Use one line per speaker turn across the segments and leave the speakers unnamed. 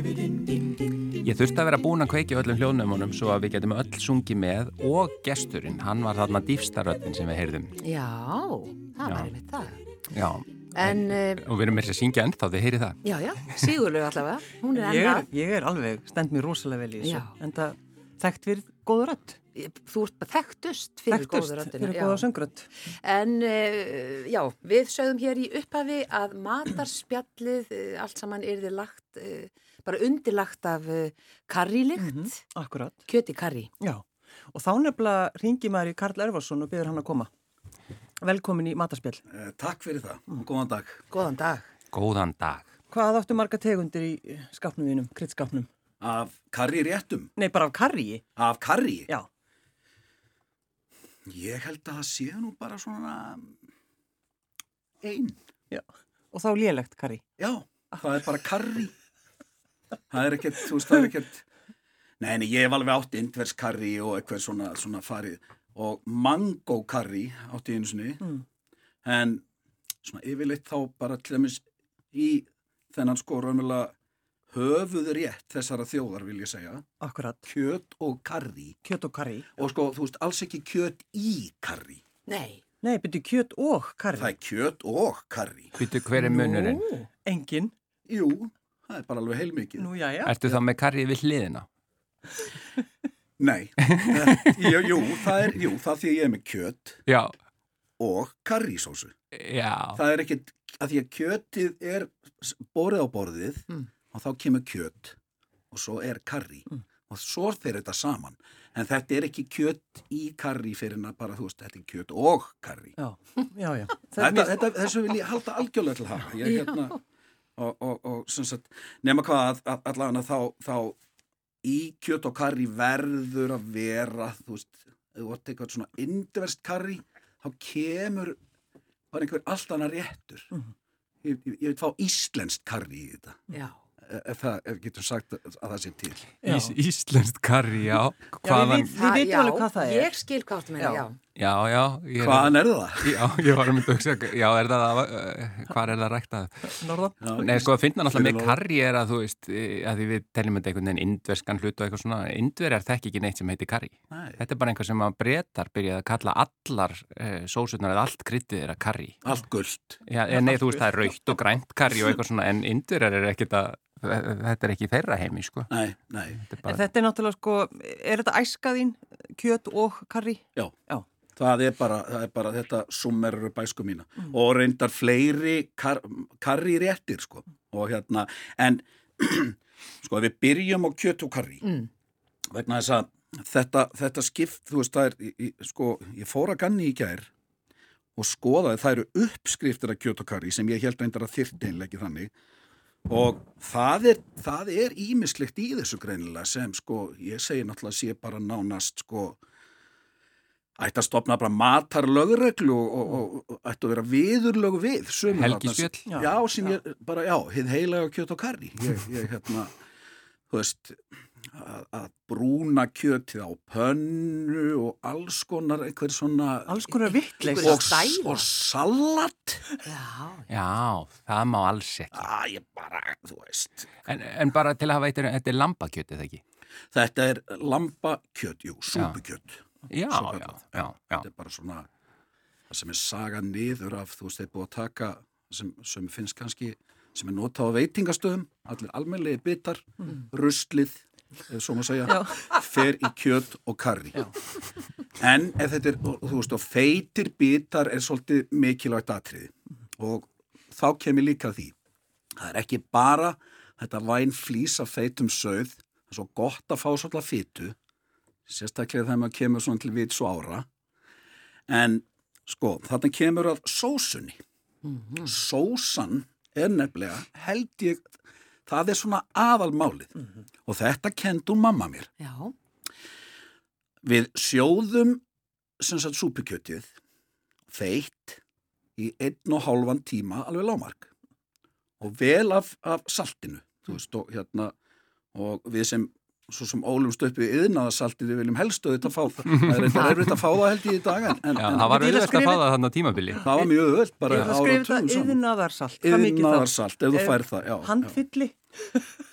Ég þurfti að vera búin að kveikja öllum hljóðnöfumunum svo að við getum öll sungið með og gesturinn, hann var þarna dýfstaröldin sem við heyrðum.
Já, það
Já.
var einmitt það.
Já,
En, eh,
og við erum með þess að syngja ennþá, þið heyrið það.
já, já, Sigurlaug allavega, hún er
Ég er,
ennað.
ég er alveg, stend mér rosalega vel í þessu.
Já.
En það þekkt fyrir góð rödd.
Þú ert bara þekktust fyrir
Þekktust
góður röndinu.
fyrir góða söngrödd.
En uh, já, við sögðum hér í upphafi að matarspjallið, uh, allt saman er þið lagt, uh, bara undirlagt af uh, karrílykt,
Mhm. Akkurat.
kjöti karrí.
Já. Og þá nefnilega ringi maður í Karl Erfarsson og byrður hann að koma. Velkomin í mataspjall.
Eh, Takk fyrir það og góðan dag.
Góðan dag.
Góðan dag.
Hvað áttu marga tegundir í skapnum þínum, kryddskapnum?
Af karri réttum,
Nei, bara af karríi.
af karri.
Já.
Ég held að það sé nú bara svona einn.
Já. Og þá lélegt karrí.
Já, það er bara karri. Það er ekkert, þú veist, það er ekkert. Nei, nei, ég hef alveg átt indvers karri og eitthvað svona, svona farið og mango karri átti einu sinni.
Mm.
En svona yfirleitt þá bara til dæmis í þennan sko raunverulega höfuð rétt þessara þjóðar vil ég segja.
Akkurat.
Kjöt og karri.
Kjöt og karrí.
og sko, þú veist, alls ekki kjöt í karri.
Nei,
Nei, byrju kjöt og
Það
karrí.
er kjöt og karri.
Býtu hver er munurinn?
Nú.
Engin.
Jú, það er bara alveg heilmikið.
Nú, já, já.
Ertu þá með karrið við hliðina?
Nei, Eh, jú, jú, það er, jú, það því að ég er með kjöt
Já,
og karrísósu.
já,
Það er ekkit, að því að kjötið er s- borið á borðið
Mm.
og þá kemur kjöt og svo er karri.
Mm.
Og svo fer þetta saman. En þetta er ekki kjöt í karri fyrir en að bara, þú veist, þetta er kjöt og karri.
Já, já, já.
þetta, þetta, þessu vil ég halda algjörlega til hafa ég, hérna, og, og, og sem sagt, nema hvað að- allavega þá, þá í kjöt og karri verður að vera þú veist, ef þú vart eitthvað svona indverst karri, þá kemur bara einhver allt annar réttur
Mhm.
ég, ég, ég vil fá íslenskt karri í þetta
já.
ef- ef það ef við getum sagt að, að það sé til
Já.
Ís, íslenskt karri, já. Hvaðan,
Við vitum
já,
alveg hvað það er.
Ég skil hvað það meina,
Já.
já.
já, já. ég er-
hvaðan er það?
Já, ég var að mynda að hugsa, já, er það, uh, hvað er það ræktað?
Norðan.
Nei, sko, að finna náttúrulega með
Fyrir
karri er að þú veist, eh, að því við teljum þetta einhvern veginn indverskan hlut og eitthvað svona, indverjar þekk ekki neitt sem heitir karri.
Nei,
Þetta er bara einhver sem að breytar byrjaði að kalla allar uh, sósurnar eða allt kryttið er að karri.
allt gullt
Já, eh, nei, þú veist, það er raukt og grænt karri og eitthvað svona, en indverjar er ekkit að, þetta er ekki þeirra heimi, sko.
nei, nei,
Þetta er
En
bara,
þetta er náttúrulega sko, er þetta æska þín, kjöt og karri?
Það er bara, það er bara þetta summerur bæsku mína og reyndar fleiri kar, karri réttir sko og hérna, en sko ef við byrjum á kjöt og karri
Mm.
vegna þess að þetta, þetta skipt, þú veist það er í- í- sko, ég fór að ganni í gær og skoðaði, það eru uppskriftir af kjöt og karri sem ég held reyndar að þyrti einlega ekki þannig og það er, það er ímislegt í þessu greinilega sem sko, ég segi náttúrulega sé bara nánast sko ætti að stopna bara matarlögreglu og, og, og, og ætti að vera viðurlög við sömu þarna sem-
helgispjöll,
Já.
Já, sem ég bara, já, hið heilaga kjöt og karri. Ég, ég hérna, þú veist, að, að brúna kjötið á pönnu og alls konar einhver svona...
Alls konar vittleis.
og,
stæla.
og salat.
Já,
já, það má alls ekki.
Æ, ég bara, þú veist,
En, en bara til að hafa eitthvað, þetta er lambakjötið, ekki?
þetta er lambakjöt, jú, súpukjöt.
Já,
Svo
já,
kallað.
já, já.
Þetta er bara svona, það sem er saga niður af, þú veist, þeir búið að taka, sem, sem finnst kannski, sem er notað á veitingastöðum, allir almennlegi bitar, ruslið, ef svo maður segja, fer í kjöt og karri. En ef þetta er, og, þú veist, og feitir bitar er svolítið mikilvægt atriði. Og þá kemur líka að því. Það er ekki bara þetta væn flýs af feitum söð, það er svo gott að fá svolítið fitu, sérstaklega þegar maður kemur svona til vits og ára. En sko, þarna kemur að sósunni. Sósan er nefnilega, held ég, það er svona aðalmálið. Og þetta kendur mamma mér
já,
við sjóðum sem sagt súpukjötið feitt í einn og hálfan tíma alveg lámark og vel af, af saltinu þú veist og hérna og við sem svo sem ólumst upp við yðnaðasalti við viljum helst auðvitað fá það það er eitthvað erfitt að fá það held ég í dag en, en,
Já, það var
Ég
en
ætla að
auðvitað að fá
skrifa-
það þannig á tímabili.
það var mjög öðvöld
Ég
bara
ætla að
ára
skrifa þetta
saman
yðnaðarsalt, hvað mikið þá?
yðnaðarsalt, ef þú
Eh,
fær það já, já.
Handfylli,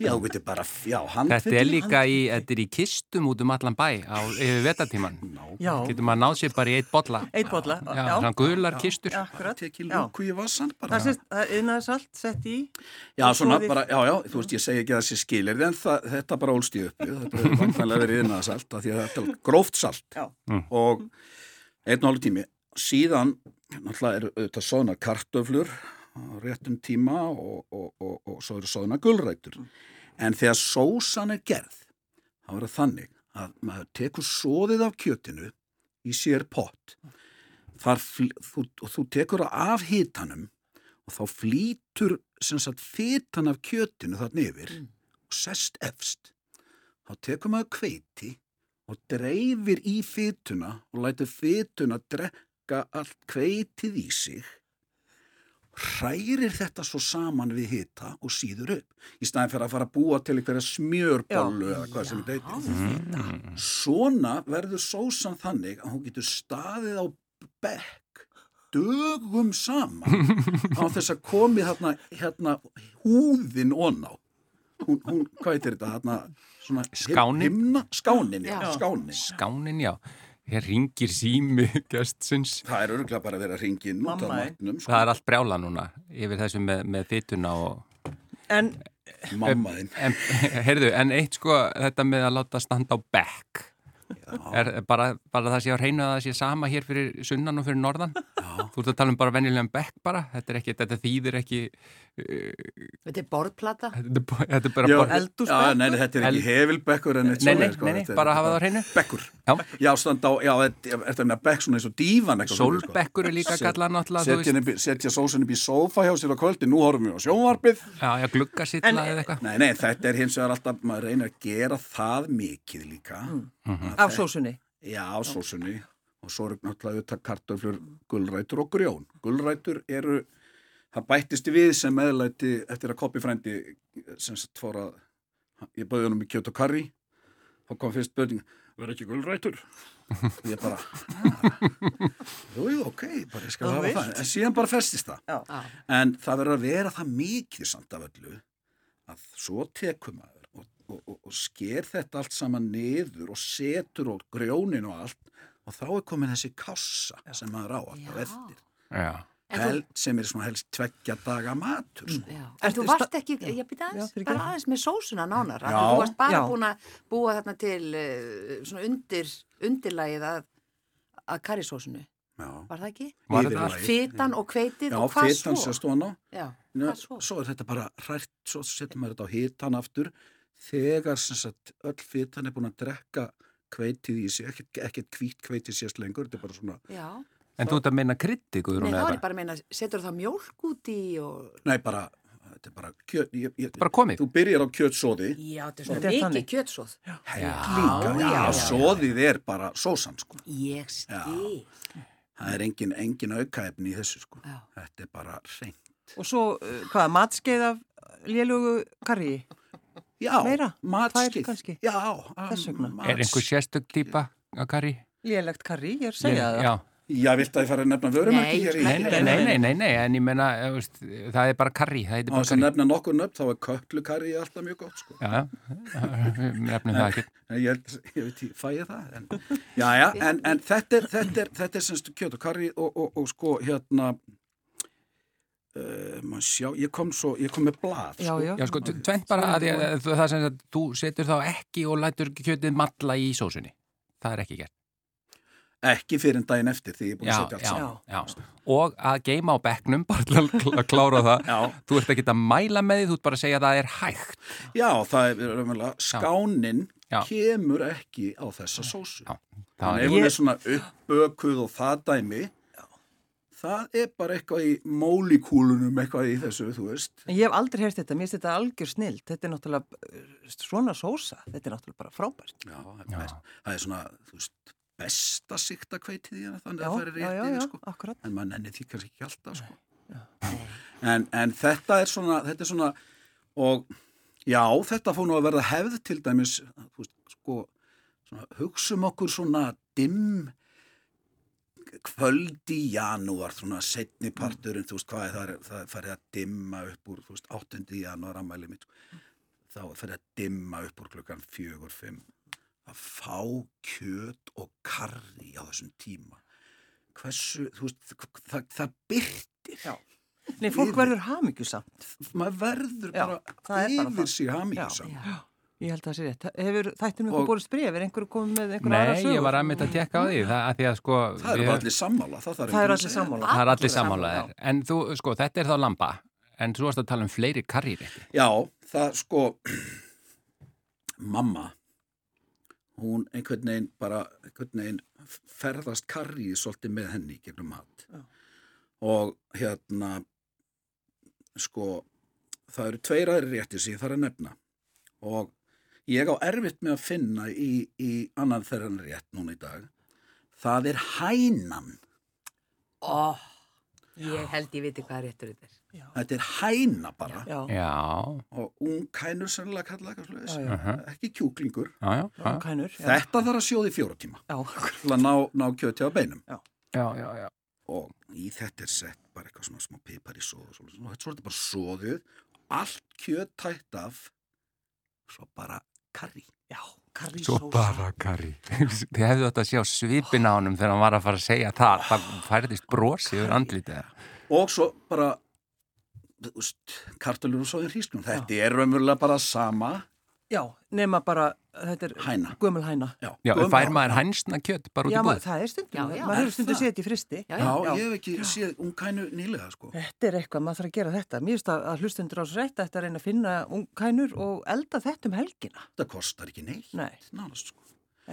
já, þú getur bara, já,
Þetta er
handfyllir
líka í, þetta er í kistum út um allan bæ á yfir vetartíman.
já,
Getur maður náð sér bara í eitt bolla.
eitt bolla,
Já,
já,
svona gular kistur.
akkurat,
tekið
já.
lúku í vassan bara
Það sést, það er yðnaðarsalt sett í,
já,
og
svona
soðið.
bara, já, já, þú veist, ég segi ekki að þessi skilir en það, þetta bara ólst ég upp við, þetta er vantanlega verið yðnaðarsalt af því að þetta er gróft salt
já,
og einn og hálf tími síðan, náttúrulega eru auðvitað soðna kartöflur á réttum tíma og, og, og, og svo eru soðna gulrætur en þegar sósan er gerð þá er það þannig að maður tekur soðið af kjötinu í sér pott Þar, fl- þú, og þú tekur það af hitanum og þá flýtur sem sagt fitan af kjötinu þarna yfir og sest efst þá tekur maður kveiti og dreifir í fytuna og lætur fytuna drekka allt kveitið í sig hrærir þetta svo saman við hita og síður upp í staðin fyrir að fara að búa til einhverja smjörbollu eða hvað sem þetta heitir
Mm.
svona verður sósan þannig að hún getur staðið á bekk dögum saman á þess að komi þarna hérna, húðin oná hún, hún, hvað heitir þetta þarna, svona,
Skánin?
himna, skánin, já,
Já.
skánin
Gánin, já. Hér ringir sími gestsins.
það er örgulega bara að vera að ringi inn út af
Mamma,
matnum
Það
sko.
er allt brjála núna yfir þessu með, með þittuna og...
en
mamma þinn
En, heyrðu, en eitt sko, þetta með að láta standa á bekk. Er, bara, bara það sé á hreinu að það sé sama hér fyrir sunnan og fyrir norðan Já. þú ert að tala um bara venjulegan bekk bara þetta, er ekki, þetta þýðir ekki
Þetta er borðplata.
þetta er bara- þetta er bara
Já,
bara-
eldhúsbekkur?
já, nei, nei, þetta er ekki
Eld-
hefilbekkur en
Nei,
eitt
nei,
svoleiðis, sko,
nei, nei,
þetta er-
bara hafa það á hreinu.
Bekkur,
Já.
já, standa á, já, þetta er þetta meina bekk svona eins og dívan eitthvað svoleiðis, sko.
Sólbekkur er líka
Set-
gallað náttúrulega, þú
Setja,
veist.
henni upp í- setja sósun upp í sófa hjá sér á kvöldi, nú horfum við á sjónvarpið
Já, já,
En-
gluggasilla eða eitthvað.
Nei, nei, þetta er hins vegar alltaf, maður reynir að gera það mikið líka Að
af
þe-
sósunni,
Já, á sósunni og svo eru náttúrulega auðvitað kartöflur gulrætur og grjón. Gulrætur eru, það bættist við sem meðlæti eftir að Koppi frændi sem sagt fór að, ég bauði honum í kjöt og karri, þá kom fyrst böting, verður ekki gulrætur? Og ég bara, "Ha, jú, jú, ok, bara ég skal
Þú
hafa
vilt.
það. En síðan bara festist það.
Já.
Ah,
En það verður að vera það mikið samt af öllu að svo tekur maður og, og, og, og sker þetta allt saman niður og setur og grjónin og allt og þá er komin þessi kassa sem maður á alltaf
Já.
eftir.
Já.
En Mm.
Hel, sem er svona helst tveggja daga matur sko.
Já, en þú
Ertu
varst
sta-
ekki, ég byrja aðeins,
fyrirgefðu.
bara aðeins með sósuna nánar, af því
Já.
þú varst bara
Já.
búin að búa þarna til uh, svona undir, undirlægið að, að karisósunu,
Já.
var það ekki?
Var þetta
Yfirlagið.
Fytan og hveitið
Já,
og hvað
fitan
svo?
sem stóna.
Já,
Njö,
hvað
svo?
svo?
er þetta bara hrært, svo setur maður þetta á hitan aftur þegar sem sagt öll fitan er búin að drekka kveitið í sig, ekkert, ekkert hvít kveitið sést lengur, þetta er bara svona
Já,
En þú ert að meina kryddi,
nei
Guðrún,
þá
eða
er
bara,
ég bara að meina, setur það mjólk út í og...
Nei, bara, þetta er bara kjöt, ég, ég,
bara komið.
þú byrjar á kjötsóði,
Já, þetta er
Þetta
svona
er
mikið
þannig.
kjötsóð.
hellinga,
já, já.
sóðið er bara sósan, sko.
Ég skil.
Það er engin, engin aukaefni í þessu, sko.
Já.
Þetta er bara reynd.
og svo, uh, hvað, matskeið af lélugu karri,
Já,
Meira? Tvær
matskið.
kannski?
Já,
Þess vegna.
um,
Er einhver
matskið.
sérstök típa að kari?
lélegt karri, ég er að segja það.
Já.
Já, viltu að ég fara að nefna vörum
Nei,
hér í?
Nei, nei, nei, nei, nei, nei, en ég meina, eh, veist, það er bara kari, það heitir
Á
bara
þess að
kari.
nefna nokkur nöfn, þá er köklukarri alltaf mjög gott, sko.
Já, já, við nefnum það ekki.
En Ég, held, ég veit, ég fæ ég það. En, já, já, en, en þetta er, þetta er, þetta er semst kjöt og karri og, og, og sko, hérna, uh, maður sjá, ég kom svo, ég kom með blað,
Já,
sko.
já,
Já, sko, t- tvennt bara að ég, að það sem að þú setur þá ekki og lætur kjötið matla í sósunni. Það er ekki gert.
Ekki fyrir en daginn eftir því ég er búin
Já,
að setja allt
já,
saman.
já. Og að geima á bekknum, bara til að kl- að klára það.
Já.
Þú ert ekki að mæla með því, þú ert bara að segja að það er hægt.
Já, það er raunverulega, skánin
Já.
kemur ekki á þessa sósu.
Já,
En
það
ef
er,
hún er svona uppökuð og það dæmi, það er bara eitthvað í mólíkúlunum, eitthvað í þessu, þú veist.
En ég hef aldrei heyrt þetta, mér finnst þetta algjör snild, þetta er náttúrulega uh, svona sósa, þetta er náttúrulega bara frábært.
Já, það er
Já.
best- það er svona, þú veist, besta sikta kveitið í hana, þannig
Já,
að það er
já,
rétt
já,
í
já,
því, sko.
akkurat.
En maður nenni því kannski ekki alltaf, sko. En, en þetta er svona, þetta er svona, og Já, þetta fór nú að verða hefð til dæmis, þú veist, sko, svona, hugsum okkur svona dimm kvöld í janúar, svona setni parturinn, þú veist, hvað er það, er- það er farið að dimma upp úr, þú veist, 8. janúar ammæli mitt, sko. þá er farið að dimma upp úr klukkan fjögur, fimm, að fá kjöt og karri á þessum tíma. Hversu, þú veist, það, það byrtir. Já.
Nei, fólk verður hamingjusamt.
Maður verður
Já, það
bara
er bara
yfir
það.
sig hamingjusamt.
Já.
Ég held að það sé rétt. Hefur þættinum
Og-
eitthvað borist bref? Er einhver komið með einhver aðra
Nei,
sögur?
ég var að mynda að tekka á því, það, að því að sko...
Það eru
við-
bara allir sammála. Það, þarf
Það eru
enginn að
allir
segja.
sammála.
það er allir
já.
sammálaðir. En þú, sko, þetta er þá lamba, en þú varst að tala um fleiri karrýrætti.
Já, það sko mamma hún einhvern veginn bara einhvern veginn ferðast karrið svolítið með henni gegnum mat
Já.
og hérna sko það eru tveir aðri réttir sem ég þarf að nefna og ég á erfitt með að finna í, í annan þeirra en rétt núna í dag það er hænan
Ó, ég held ég viti hvað réttur þetta er.
þetta er hæna bara
Já, já,
Já,
og unghænur sennilega kalla eitthvað svoleiðis.
Já, já.
Mhm.
ekki kjúklingur
já, já, já,
kænur. Já,
Þetta þarf að sjóði fjóra tíma
já.
til að ná, ná kjöti á beinum
já, já, já.
og í þetta er sett bara eitthvað svona smá pipar í sóðu og þetta er svolítið bara sóðuð allt kjöt tætt af svo bara karri
já karrísós.
Svo bara karri. Þið hefðu þetta að sjá svipin á honum þegar hann var að fara að segja það. Það færðist brosi yfir andlitið.
og svo bara þú veist, kartölur og sóðin hrískjum þetta er raunverulega bara sama
Já, nema bara, þetta er
Hæna.
gömul hæna.
já,
Já,
gömum
fær
á-
maður hænsna kjöt bara út
Já,
í
maður,
búð.
það er stundum.
Já, já.
maður
Er
hefur stundum
það?
séð þetta í fristi.
Já,
já,
já.
já.
ég hef ekki séð ungkænu nýlega sko
Þetta er eitthvað, maður þarf að gera þetta. Mér finnst að, að hlustundur ás rétt ætti að reyna að finna ungkænur og elda þetta um helgina.
þetta kostar ekki neitt
Nei.
nánast sko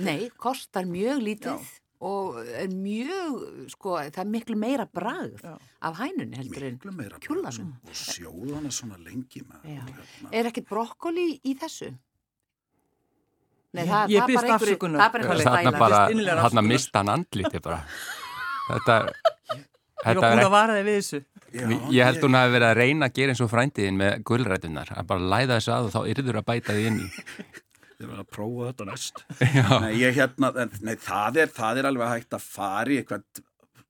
Nei, kostar mjög lítið og er mjög, sko, það er miklu meira bragð
Já.
af hænun heldur en.
miklu meira bara.
kjúlanum.
sko.
og sjóðana svona lengi maður
Já.
Hérna.
Er ekkit brokkoli í þessu? Nei,
Ég-
það,
ég
það er
biðst
bara einhverju-
afsökunar,
það er bara
Kalli.
einhverju
Þarna
Þægilega,
bara,
fyrst innilegar
þarna
afsökunar.
mista hann andlitið bara. Þetta,
Ég
þetta
var
er
búin
ekki...
að vara þig við þessu.
Já,
Ég held hún hafi verið að reyna að gera eins og frændiðin með gulrætunar, að bara læða þessu að og þá yrður að bæta því inn í.
Ég verði að prófa þetta næst. Nei, ég hérna, en- nei það, er, það er alveg hægt að fara í eitthvað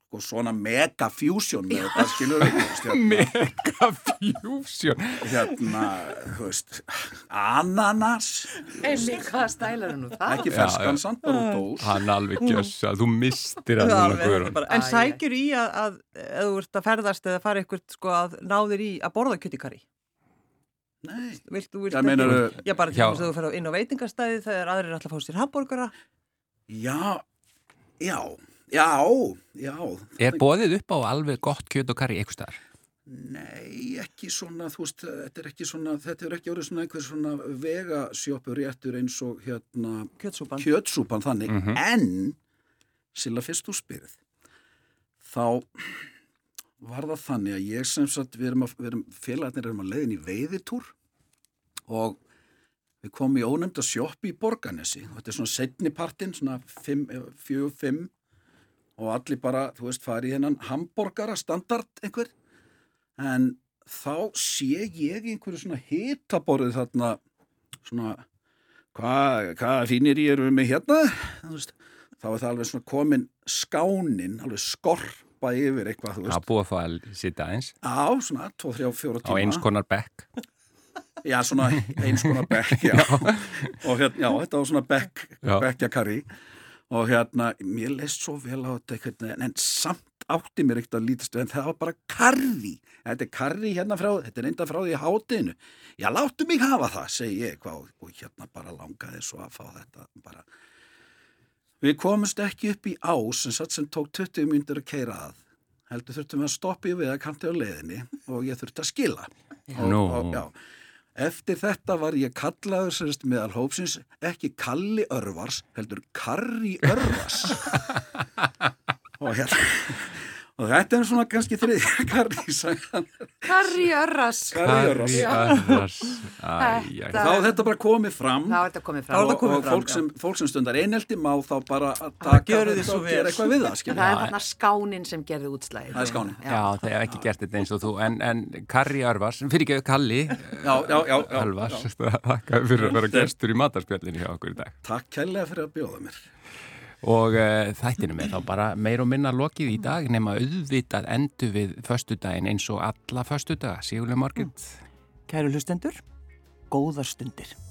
sko, svona mega fusion með þetta, skilur við, hérna,
Mega fjúsjón.
hérna, þú veist, ananas,
Einmitt, hvaða stælar er nú það?
ekki ferskan samt, bara úr dós.
Hann alveg gjössa, þú mistir að
Það
núna
er
guður.
bara- En
Æ, æ.
sækjur í að, að eða þú ert að ferðast eða fara eitthvað sko að náðir í að borða kjötikari
Nei,
Vilt þú vilt
Já, meinarðu-
Já, bara til
Já.
þess að þú fer á inn á veitingastæði þegar aðrir er alltaf að fá sér hambúrgara
já, já, já, já.
Er bóðið upp á alveg gott kjöt og karri einhverstaðar?
Nei, ekki svona, þú veist, þetta er ekki svona, þetta er ekki orðið svona einhver svona vegasjópur réttur eins og hérna,
Kjötsúpan
kjötsúpan þannig, en Silla fyrst þú spyrð þá var það þannig að ég sem sagt við erum, að- við erum félagarnir erum að leiðin í veiðitúr og við komum í ónefnda sjoppi í Borganesi og þetta er svona setni partinn, svona 4-5 og allir bara, þú veist, farið í hennan hambúrgara standard einhver en þá sé ég í einhverju svona hitaborðið þarna svona hvað hva fínir ég erum við með hérna Þú veist, þá er það alveg svona komin skánin, alveg skorpa yfir eitthvað, þú
Það
veist,
er búið að fá að sitja aðeins
á svona 2, 3, 4
á
tíma,
eins konar bekk.
já svona eins konar bekk, já og hérna, já, þetta var svona bekk,
Já.
bekkjakarri og hérna, mér leist svo vel á þetta einhvern veginn, en samt átti mér ekkert að lítast, en það var bara karri þetta er karri hérna frá, þetta er reynda frá því hátinu, já láttu mig hafa það segi ég eitthvað og- og hérna bara langaði svo að fá þetta bara við komumst ekki upp í ás sem satt sem tók 20 myndir að keira að heldur þurftum við að stoppa í við að kanti á leiðinni og ég þurfti að skila og,
Nú.
og, já. eftir þetta var ég kallaður sérst meðal hópsins ekki Kalli Örvars heldur Karri Örvars og hérna Og þetta er svona kannski þriðja karri sagan.
Karri Örras.
Karri
Harry
Örras.
Örvars. Æ, æ, æ.
Þá er þetta bara komið fram.
Þá er þetta komið
Þá er
fram.
þetta
og,
komið
og
fram,
fólk,
já.
sem, fólk sem stundar einelti má þá bara að taka
gjörið þið
þetta
svo
og
vel.
gera eitthvað við það,
En
skilur.
það er þarna skánin sem gerði útslæðið.
Það er skáninn.
Já, það hef ekki gert þetta eins og þú, en, en Karri Örvars, fyrir ekki Kalli
Já, já, já. já,
Örvars,
já.
þakka fyrir að vera gestur í matarspjallinu hjá okkur í dag.
Takk kærlega fyrir að bjóða mér.
Og uh, þættinum er þá bara meir og minna lokið í dag nema auðvitað endur við föstudaginn eins og alla föstudaga, Sigurlega Margrét.
Kæru hlustendur, góðar stundir.